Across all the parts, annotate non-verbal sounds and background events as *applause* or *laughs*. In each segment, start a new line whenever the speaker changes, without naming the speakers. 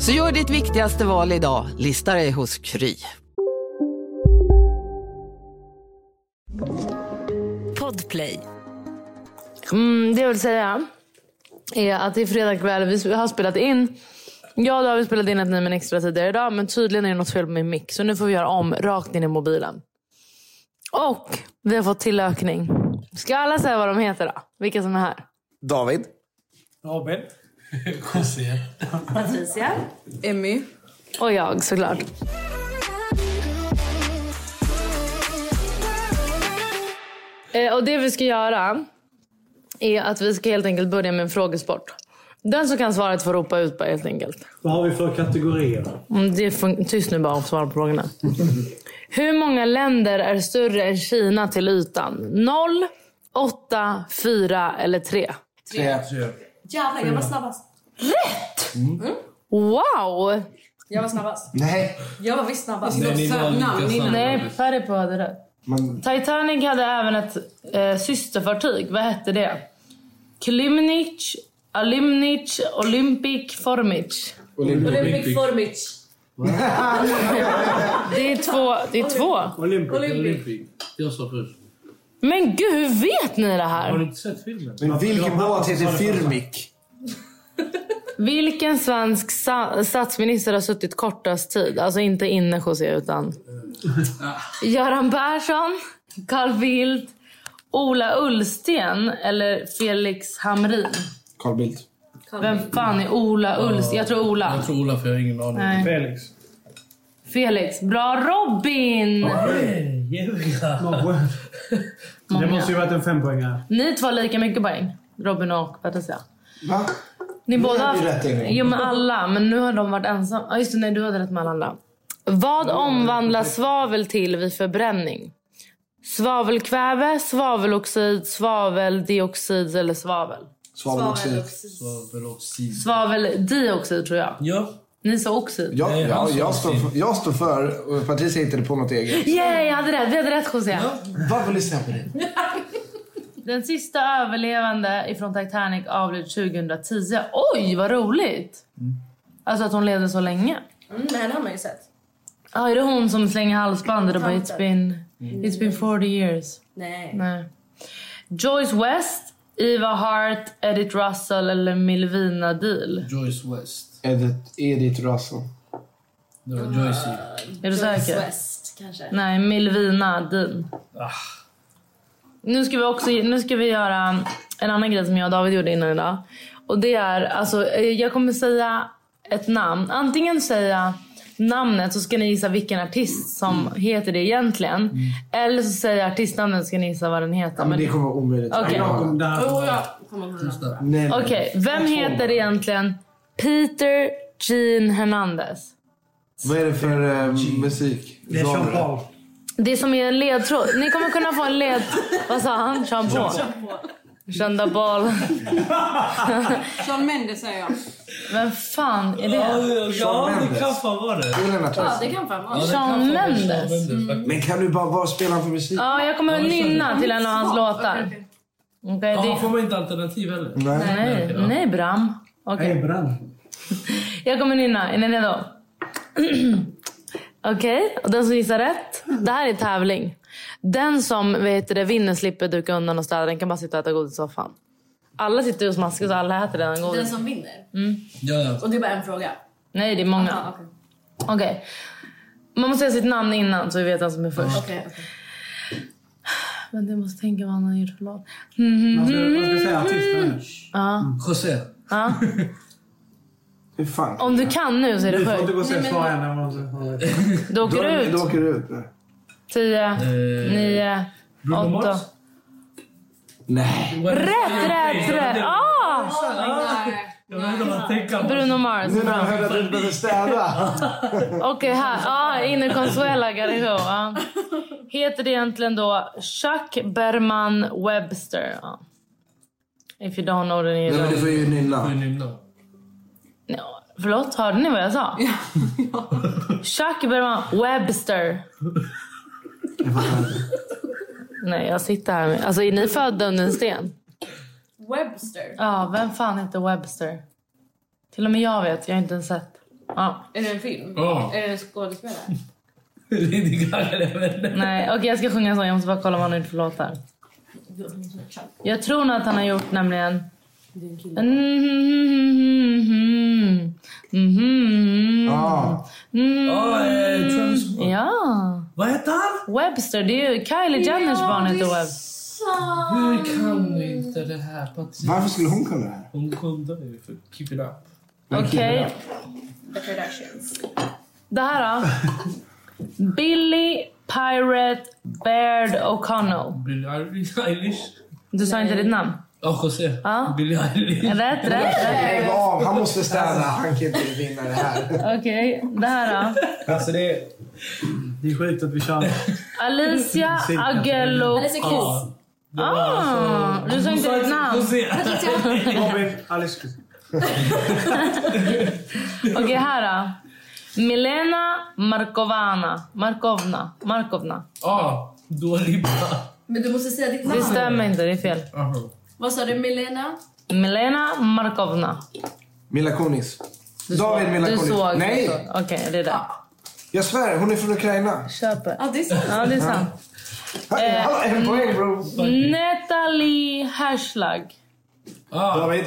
Så gör ditt viktigaste val idag, listar dig hos Kry.
Podplay.
Mm, det jag vill säga är att det är fredag kväll. Vi har spelat in. Jag och David spelade in ett Nej men extra tidigare idag. Men tydligen är det något fel med min mick. Så nu får vi göra om rakt in i mobilen. Och vi har fått tillökning. Ska alla säga vad de heter då? Vilka som är här?
David?
Robin.
Emmy.
Och jag såklart. Eh, Och det vi ska göra är att vi ska helt enkelt börja med en frågesport. Den som kan svaret får ropa ut bara helt enkelt.
Vad har vi för kategorier?
Mm, Det fun- Tyst nu bara och svara på frågorna. Hur många länder är större än Kina till ytan? 0, 8, 4 eller 3?
Jävlar, jag var snabbast.
Wow!
Jag var snabbast.
Nej.
Jag var visst snabbast.
Nej, Faripo hade rätt.
Men-
Titanic hade även ett eh, systerfartyg. Vad hette det? Klymnich, Alymnich, Olympic, Formic.
Olympic Formic.
Det är två. Det är två.
Olympic.
Jag sa först.
Men gud, hur vet ni det
Har du
här?
inte sett filmen?
Men vilken båt heter Firmik?
Vilken svensk sa- statsminister har suttit kortast tid? Alltså inte inne José, utan... Göran Persson, Carl Bildt, Ola Ullsten eller Felix Hamrin?
Carl Bildt.
Vem fan är Ola Ullsten? Jag tror Ola.
Jag tror Ola, för jag har ingen aning.
Nej.
Felix.
Felix. Bra Robin!
Det måste ju varit en fempoängare.
Ni två har lika mycket poäng. Robin och Patricia.
Va?
Ni båda
hade ju rätt en gång.
Jo men alla. Men nu har de varit ensamma. Ah, just det, nej du hade rätt med alla andra. Vad omvandlas svavel till vid förbränning? Svavelkväve, svaveloxid, svaveldioxid eller svavel?
Svaveloxid.
Svaveloxid.
Svaveldioxid tror jag.
Ja.
Ni sa oxid.
Ja,
Nej, han
ja,
sa
jag, står
sin.
för, jag står för... och Patricia hittade på något eget.
Yay, jag hade rätt. Vi hade rätt José.
Varför lyssnar jag på det?
*laughs* Den sista överlevande ifrån Titanic avled 2010. Oj, vad roligt!
Mm.
Alltså att hon levde så länge.
Mm, det här har man ju sett.
Ja, är det hon som slänger halsbandet och bara it's been, it's been 40 years?
Mm. Nej.
Nej. Joyce West, Eva Hart, Edith Russell eller Milvina Deal?
Joyce West.
Edith, Edith Russell.
Det var Joyce.
Är du
Joyce
säker?
West kanske.
Nej, Milvina Deal.
Ah.
Nu ska vi också nu ska vi göra en annan grej som jag och David gjorde innan idag. Och det är, alltså eh, jag kommer säga ett namn. Antingen säga namnet så ska ni gissa vilken artist som heter det egentligen. Eller så säger jag artistnamnet så ska ni gissa vad den heter.
Mm. Ja, men det kommer vara omöjligt.
Okej.
Ja,
Där.
nej, nej.
Okej, vem heter egentligen Peter Gene Hernandez?
Vad är det för eh, musik?
Det är Jean
Genre?
Paul.
Det som är en ledtråd. Ni kommer kunna få en
*laughs*
led... Vad sa han? Sean Paul? Jean Paul.
Sean Mendes säger jag.
Vem fan är det?
Shawn Mendes.
fan vara det. Mm.
Det är väl Lennart
Ja,
Nilsson.
det kan fan vara.
Shawn Mendes.
Men kan du bara, vad spelar han för musik?
Ja, jag kommer att nynna till en av hans låtar. Okej,
Ja, får
det...
man inte alternativ heller?
Nej.
Nej, nej Bram. Okej.
Hej Brann.
Jag kommer nynna. Är ni redo? *clears throat* Okej, och den som gissar rätt. Det här är tävling. Den som vad heter det, vinner slipper duka undan och städa. Den kan bara sitta och äta godis i soffan. Alla sitter ju och smaskar så alla äter redan
Den
godis.
som vinner.
Ja, ja.
Och det är bara en fråga.
Nej, det är många.
Ja, okej.
Okej. Man måste säga sitt namn innan så vi vet vem som är först.
Okej, okej.
Men jag måste tänka vad han har gjort för låt. Mhm.
Man ska, man Alltså, ska säga artisten.
Ja.
José.
ja.
Hur fan?
Om du kan nu så är
Du
det
får inte
sjukt.
gå och säga svar än. när man-
Då åker du
Då
ut.
åker du ut. nej.
Tio,
Eh,
nio,
Bruno
åtta.
Mars?
Nej.
Rätt, rätt, rätt! Ah!
Jag vet inte vad man tänker på.
Bruno Mars.
Nu när han
Bra.
hörde att du inte
*laughs*
behövde städa.
Okej, här. Ah, Inne Consuela Garrigo. Ah. Heter det egentligen då Chuck Berman Webster? Ah. If you don't know the
Nej, men
name.
du får ju
Får
nynna.
jag nynna?
No. Förlåt, hörde ni vad jag sa? Chuck Berman Webster. Nej, jag sitter här med... Alltså, är ni födda under en sten?
Webster.
Ja, vem fan heter Webster? Till och med jag vet, jag har inte ens sett. Ja,
Är det en film?
Ja.
Är det en skådespelare?
Lady Gaga, jag vet inte.
nej, okej jag ska sjunga en sång, jag måste bara kolla vad han har gjort för låtar. Jag tror nog att han har gjort nämligen... Mhm, mhm,
Ja.
mhm.
Ja, eh, Travis...
Ja,
Vad heter han?
Webster, det är ju Kylie Jenners barn heter Webster.
Hur kan du inte det här? Patricia?
Varför skulle hon kunna det här?
Hon kunde ju för Keep It Up.
Okej,
The Kardashians.
det här då? Billy Pirate Baird O'Connell.
Billie Eilish- Eilish?
Du sa inte ditt namn?
Ja, José.
Ja.
Billie Eilish.
Rätt, rätt, rätt.
Lägg av, han måste städa. Han kan inte vinna det här.
Okej, det här då.
Alltså det är... Det är sjukt att vi kör.
Alicia Agello...
Alice Keys.
Det
Ah,
var alltså-
du sa inte ditt namn.
José.
Robin, Alice Cooper.
Okej, här då. Milena Markovana. Markovna. Markovna.
Ja, Dua Lipa. *laughs*
Men du måste säga ditt namn.
Det stämmer inte, det är fel.
Aha.
Vad sa du? Milena?
Milena Markovna.
Mila Kunis. David Mila
Du
Kunis.
såg.
Nej,
du såg. Okej, det är det.
jag svär. Hon är från Ukraina.
Köper.
Ja, det är sant.
Ja, det är sant.
Hallå, En poäng bro.
Natalie Herslag.
Ah,
David.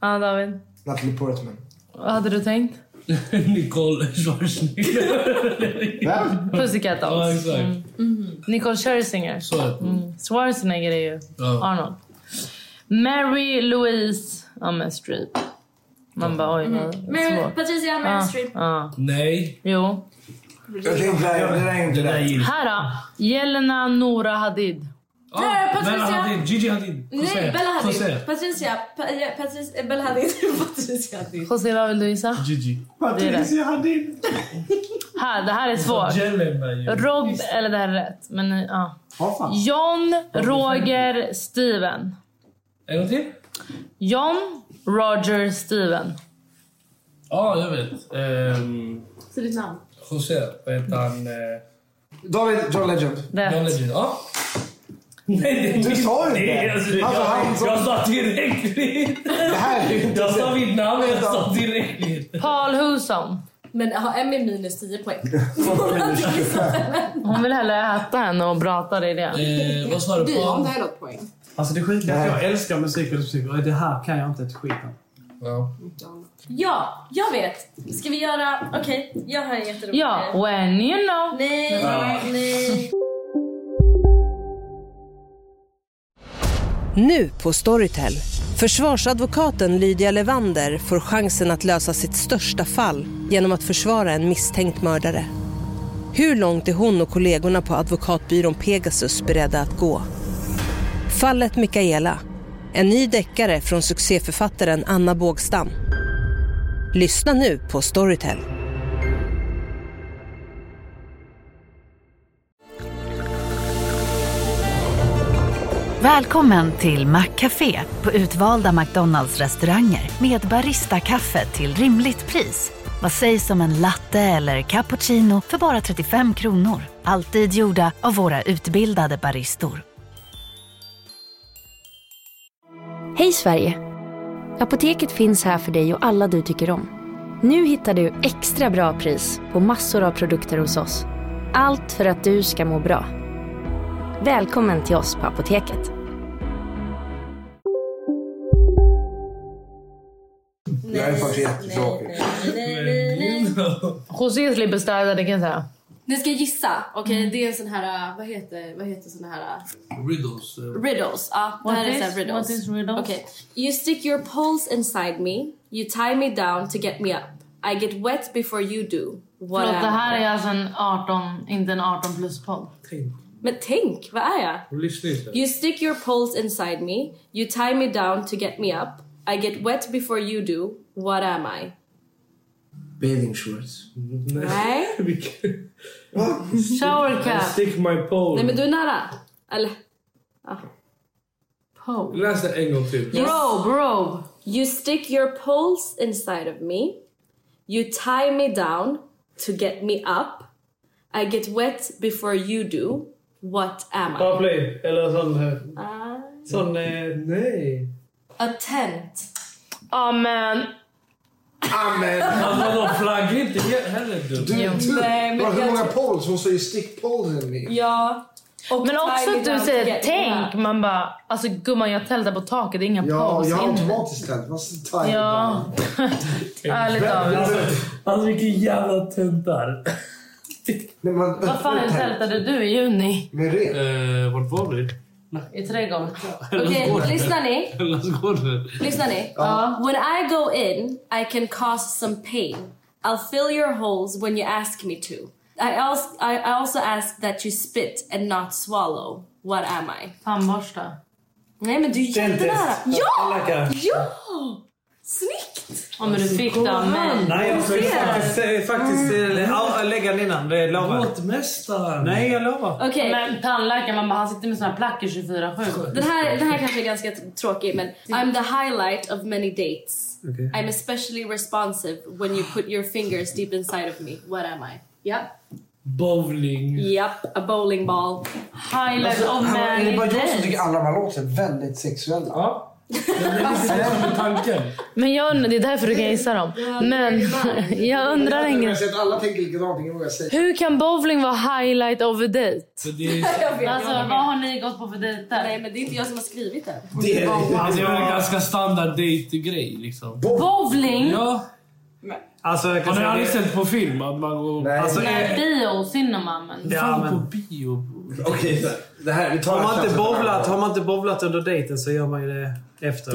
Ja, David.
Natalie Portman.
Vad hade du tänkt?
Nicole
*laughs*
Schwarzenegger.
Vem?
Pussycat
Ja,
Dolls.
exakt.
Nicole Scherzinger.
Så heter hon.
Schwarzenegger är ju
Ja.
Mm. Arnold. Mary Louise ja, men Streep. Man bara oj vad
Mm. Mary,
svårt.
Patricia Meryl Streep.
Ja.
Nej.
Jo.
Jag tänkte det här det där är inte
där
rätt.
gills.
Här då. Jelena Nora Hadid.
Ah,
Där, Patricia.
Bella Hadid. Gigi Hadid.
Nej,
José.
Bella Hadid.
José.
Patricia. Pa- ja, Patricia. eh, Bella Hadid. *laughs* Patricia Hadid.
José vad vill du gissa?
Gigi.
Det är
Patricia Hadid.
Här, det här är svårt.
Jelena ju.
Rob, eller det här är rätt. Men ja.
Ja, fan.
John Roger Steven.
En gång till?
John Roger Steven.
Ja, jag vet. Ehm,
Så ditt namn.
José. Vad heter han? Eh,
David, John Legend.
John
Rätt.
Legend. Ja. Nej, det
Du sa ju
det.
det.
Alltså, det-
Alltså, han
jag,
som-
jag sa tillräckligt.
Det här är ju inte
Jag sa
rätt.
mitt namn, jag sa tillräckligt.
Paul Huson.
Men har Emmy minus 10 poäng?
Hon vill hellre äta än och prata, det är det.
Eh, vad sa du?
Du har
Paul?
inte heller ett poäng.
Alltså det sjuka är att jag älskar musik och musik och det här kan jag inte ett skit om.
Ja.
Ja, jag vet. Ska vi göra... Okej, jag har en jätterolig
Ja,
grej.
when you know.
Nej, nej.
Nu på Storytel. Försvarsadvokaten Lydia Levander får chansen att lösa sitt största fall genom att försvara en misstänkt mördare. Hur långt är hon och kollegorna på advokatbyrån Pegasus beredda att gå? Fallet Mikaela. En ny deckare från succéförfattaren Anna Bågstam. Lyssna nu på Storytel.
Välkommen till Maccafé på utvalda McDonalds restauranger med Baristakaffe till rimligt pris. Vad sägs om en latte eller cappuccino för bara 35 kronor? Alltid gjorda av våra utbildade baristor.
Hej Sverige! Apoteket finns här för dig och alla du tycker om. Nu hittar du extra bra pris på massor av produkter hos oss. Allt för att du ska må bra. Välkommen till oss på Apoteket.
Jag är faktiskt jättetråkig.
nej, nej, nej.
José slipper städa, det kan jag säga.
Nu ska jag gissa. Okej, det är en sån här... äh, Vad heter, vad heter sån här... äh,
Riddles. eh,
Riddles. Ja, det
What
här är
is-
så här riddles.
what is riddles?
Okay. You stick your poles inside me. You tie me down to get me up. I get wet before you do. What
Förlåt,
am
det här
I?
är alltså en 18, inte en 18 plus-podd.
Men tänk, vad är jag?
Lyssna inte.
You stick your poles inside me. You tie me down to get me up. I get wet before you do. What am I?
Bathing shorts.
*laughs*
Nej. Shower
I
cap.
stick my pole.
Nej men du är nära. Eller... Ah.
Läs det en gång till.
bro. You stick your poles inside of me. You tie me down to get me up. I get wet before you do. What am I?
Paraply. Eller sån... eh,
Ah.
Sån... eh, Nej.
A tent.
Amen.
Amen.
Alltså de flaggar inte heller
Du,
du.
du,
Nej, men
bra, hur
jag-
många poles? Hon sa ju stick poles in me.
Ja.
Men också
tie
att
me
du
down to
säger
get
tänk.
me up.
Man bara, alltså gumman jag tältar på taket, det är inga
Ja,
poles.
jag har
in.
automatiskt tänt. Vad sa jag?
Ja. Ärligt talat.
Alltså,
Alltså vilken jävla tönt där.
Nej, man,
Vad fan tältade du i juni?
Med rep?
Eh, vart var vi?
I trädgården?
Okej, lyssnar ni?
Lassgården.
Lyssnar ni?
Ja.
When I go in, I can cause some pain. I'll fill your holes when you ask me to. I also, I I also ask that you spit and not swallow. What am I?
Tandborsta.
Nej men du är jättenära. Ja! Ja! Snyggt!
Ja, men du fick den. Men...
Nej, jag försökte faktiskt, eh,
Ah.
faktiskt eh, ja, lägga den innan. Det lovar jag.
Båtmästaren.
Nej, jag lovar.
Okej.
Men tandläkaren, man bara, han sitter med såna här placker
Alltså,
24-7.
Den här, den här kanske är ganska tråkig men I'm the highlight of many dates.
Okej.
I'm especially responsive when you put your fingers deep inside of me. What am I? Yep.
Bowling.
Yep, a bowling ball.
Highlight
Alltså,
of
är det
many
bara jag som
dates.
tycker alla de här låten är väldigt sexuella?
Ja.
Men jag undrar, det är därför du kan gissa dem. Men *laughs* jag undrar
Jag har
inget.
sett att alla tänker likadant, ingen vågar säga.
Hur kan bowling vara highlight of a date?
Det
Alltså, vad har ni gått på för dejter?
Nej men det är inte jag som har skrivit det.
Det är,
Wow, wow.
alltså, det är väl en ganska standard date-grej liksom.
Bowling?
Ja.
Alltså, jag
Har
kan
ni
säga
aldrig
det-
sett på film att man går... Nej.
Alltså,
Nej,
eh,
bio, cinema men.
Ja,
Fan
men-
på bio.
Okej, det här... Vi tar
Har man,
chansen
inte
på den här
bowlat,
gången.
har man inte bowlat under dejten så gör man ju det efter.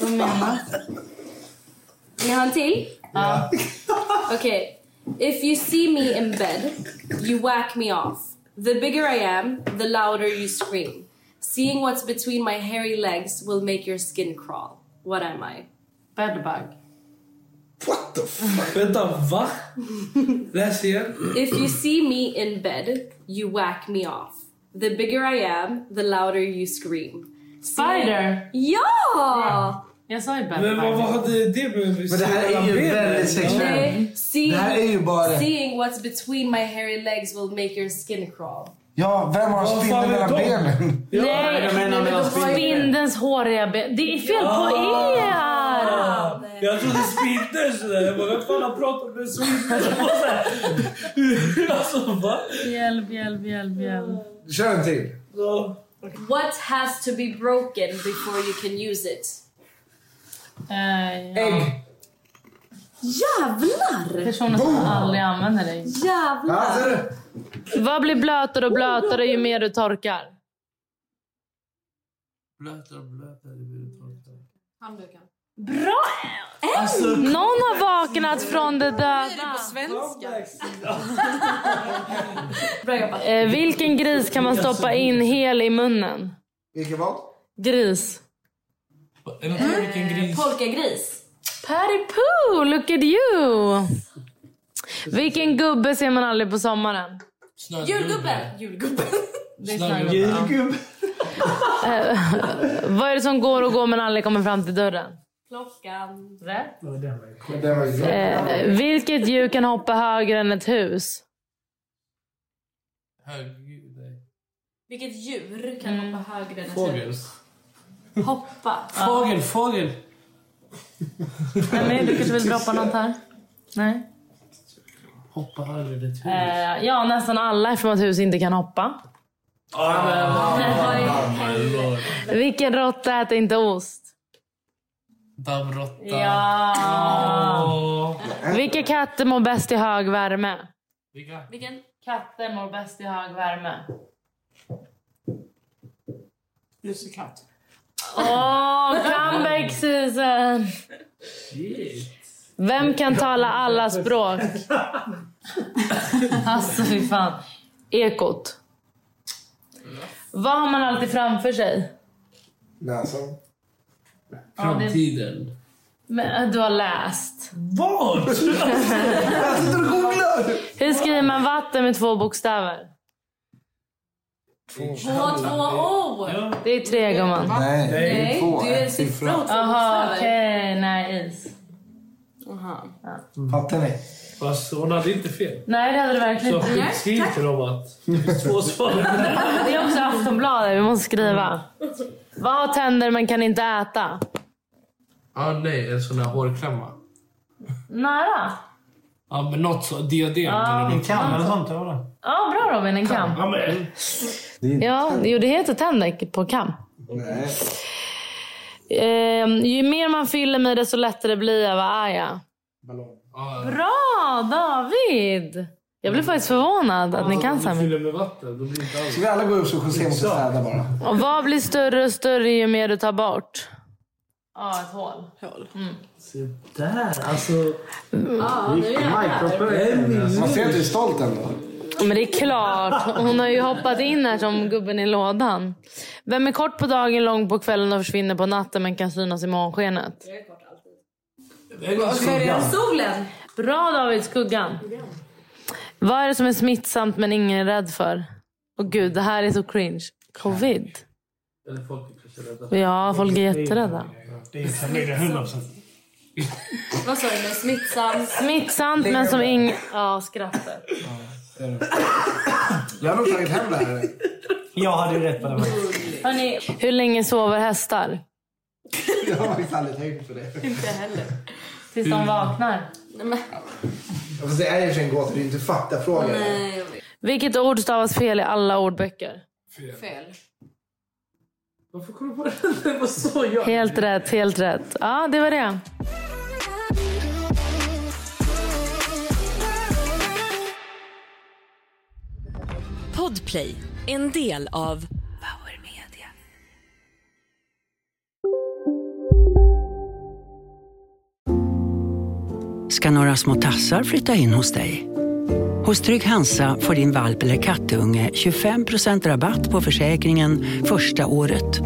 Vad menar
Ni har en till? Ja. Okej. If you see me in bed, you whack me off. The bigger I am, the louder you scream. Seeing what's between my hairy legs will make your skin crawl. What am I?
Bedbug.
Vänta, va? Läs igen.
If you see me in bed, you whack me off. The bigger I am, the louder you scream.
Spider.
Ja!
Jag sa ju bedbug.
Men vad, vad hade det med
Men det här är ju väldigt sexuellt.
Nej,
Det här är ju
Seeing,
bara-
seeing what's between my hairy legs will make your skin crawl.
Ja, vem har en spindel mellan benen?
Nej, spindelns håriga ben. Det är fel på er!
Jag trodde spindel sådär. Jag bara, vem fan har pratat
*laughs*
med spindel? Jag bara såhär, *laughs* Alltså va?
Hjälp, hjälp, hjälp, hjälp.
Kör en till.
What has to be broken before you can use it?
Eh, Ägg.
Jävlar!
Personer som aldrig använder dig.
Ja, ser
Jävlar!
du?
Vad blir blötare och blötare ju mer du torkar?
Blötare och blötare. det blir torrt.
Handduken.
Bra!
Alltså-
Någon har vaknat från det döda.
Bra jobbat.
Eh, vilken gris kan man stoppa in hel i munnen?
Vilken vad?
Gris.
Vilken gris.
Polkagris.
Patty Poo, look at you! Vilken gubbe ser man aldrig på sommaren?
Mm. *laughs*
Julgubben! Julgubben.
Det är snögubben, ja. Eh, Vad är det som går och går men aldrig kommer fram till dörren?
Klockan.
Rätt.
Men det var ju
Eh, vilket djur kan hoppa högre än ett hus?
Herregud. nej.
Vilket djur
Mm.
kan hoppa högre än ett
Fågel.
huvud? Hoppa.
Fågel, fågel.
Nej, men du kanske vill droppa något här? Nej.
Hoppa högre än ett huvud.
Eh, ja, nästan alla eftersom att hus inte kan hoppa.
Ah, men-
Vilken råtta äter inte ost?
Dammråtta.
Ja.
Åh.
Vilka katter mår bäst i hög värme?
Vilka?
Vilken? Katter mår bäst i hög värme.
Lussekatt.
Åh, comeback season! Vem kan tala alla språk? Alltså, fy fan. Ekot. Vad har man alltid framför sig?
Näsan.
Framtiden.
Men, äh, du har läst.
Vad? Jag
sitter och googlar!
Hur skriver man vatten med två bokstäver?
Två, två O!
Det är tre, gumman.
Nej, det är två.
det är
en siffra.
siffror.
Jaha, okej. Nej, is.
Fattar ni?
Fast
Alltså,
hon hade inte fel.
Nej, det hade du verkligen
Så
inte.
skriv till dem att två svar.
Det är också Aftonbladet, vi måste skriva. Vad har tänder man kan inte äta?
ah, nej, en sån här hårklämma.
Nära.
Ja, men något så, diadem
Ja,
eller
en
något.
kam eller
sånt.
Ja, bra Robin, en kam.
Ja, men,
Ja, jo, det heter tänder på kam.
Nej.
Ehm, ju mer man fyller mig desto lättare blir jag, vad är jag? Bra David! Jag blev faktiskt förvånad att ni kan så här mycket.
Fyller med vatten, då blir det inte alls...
Ska vi alla gå upp så José måste städa bara?
Och vad blir större och större ju mer du tar bort? Ja, ett hål. hål. Mm.
Där, alltså.
Ja, nu är jag
Man ser att du är stolt ändå.
Men det är klart. Hon har ju hoppat in här som gubben i lådan. Vem är kort på dagen, lång på kvällen och försvinner på natten men kan synas i månskenet?
Alltså-
Solen!
Bra David, skuggan. Vad är det som är smittsamt men ingen är rädd för? Åh gud, det här är så cringe. Covid.
Eller folk är kanske rädda.
Ja, folk är jätterädda.
Det är Camilla 100%.
Vad sa du nu? Smittsam?
Smittsamt men som ingen... Ja, skrattet.
Jag hade nog tagit hem det här.
Jag hade ju rätt på det. va?
Hörrni, hur länge sover hästar?
Jag har faktiskt aldrig tänkt på det.
Inte heller.
Tills de vaknar.
Nej, men,
Fast det är ju för en gåta, det är ju inte faktafråga.
nej, jag vet.
Vilket ord stavas fel i alla ordböcker?
Fel.
Varför kom du på det? *laughs* Det var så jag...
Helt rätt, helt rätt. Ja, det var det.
Podplay, en del av Power Media.
ska några små tassar flytta in hos dig. Hos Trygg Hansa får din valp eller kattunge 25% rabatt på försäkringen första året.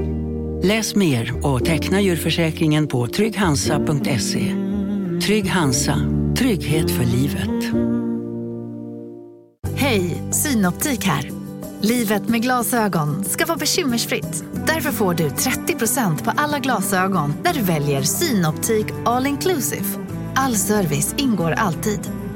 Läs mer och teckna djurförsäkringen på trygghansa.se. Trygg Hansa, trygghet för livet.
Hej, Synoptik här. Livet med glasögon ska vara bekymmersfritt. Därför får du 30% på alla glasögon när du väljer Synoptik All Inclusive. All service ingår alltid.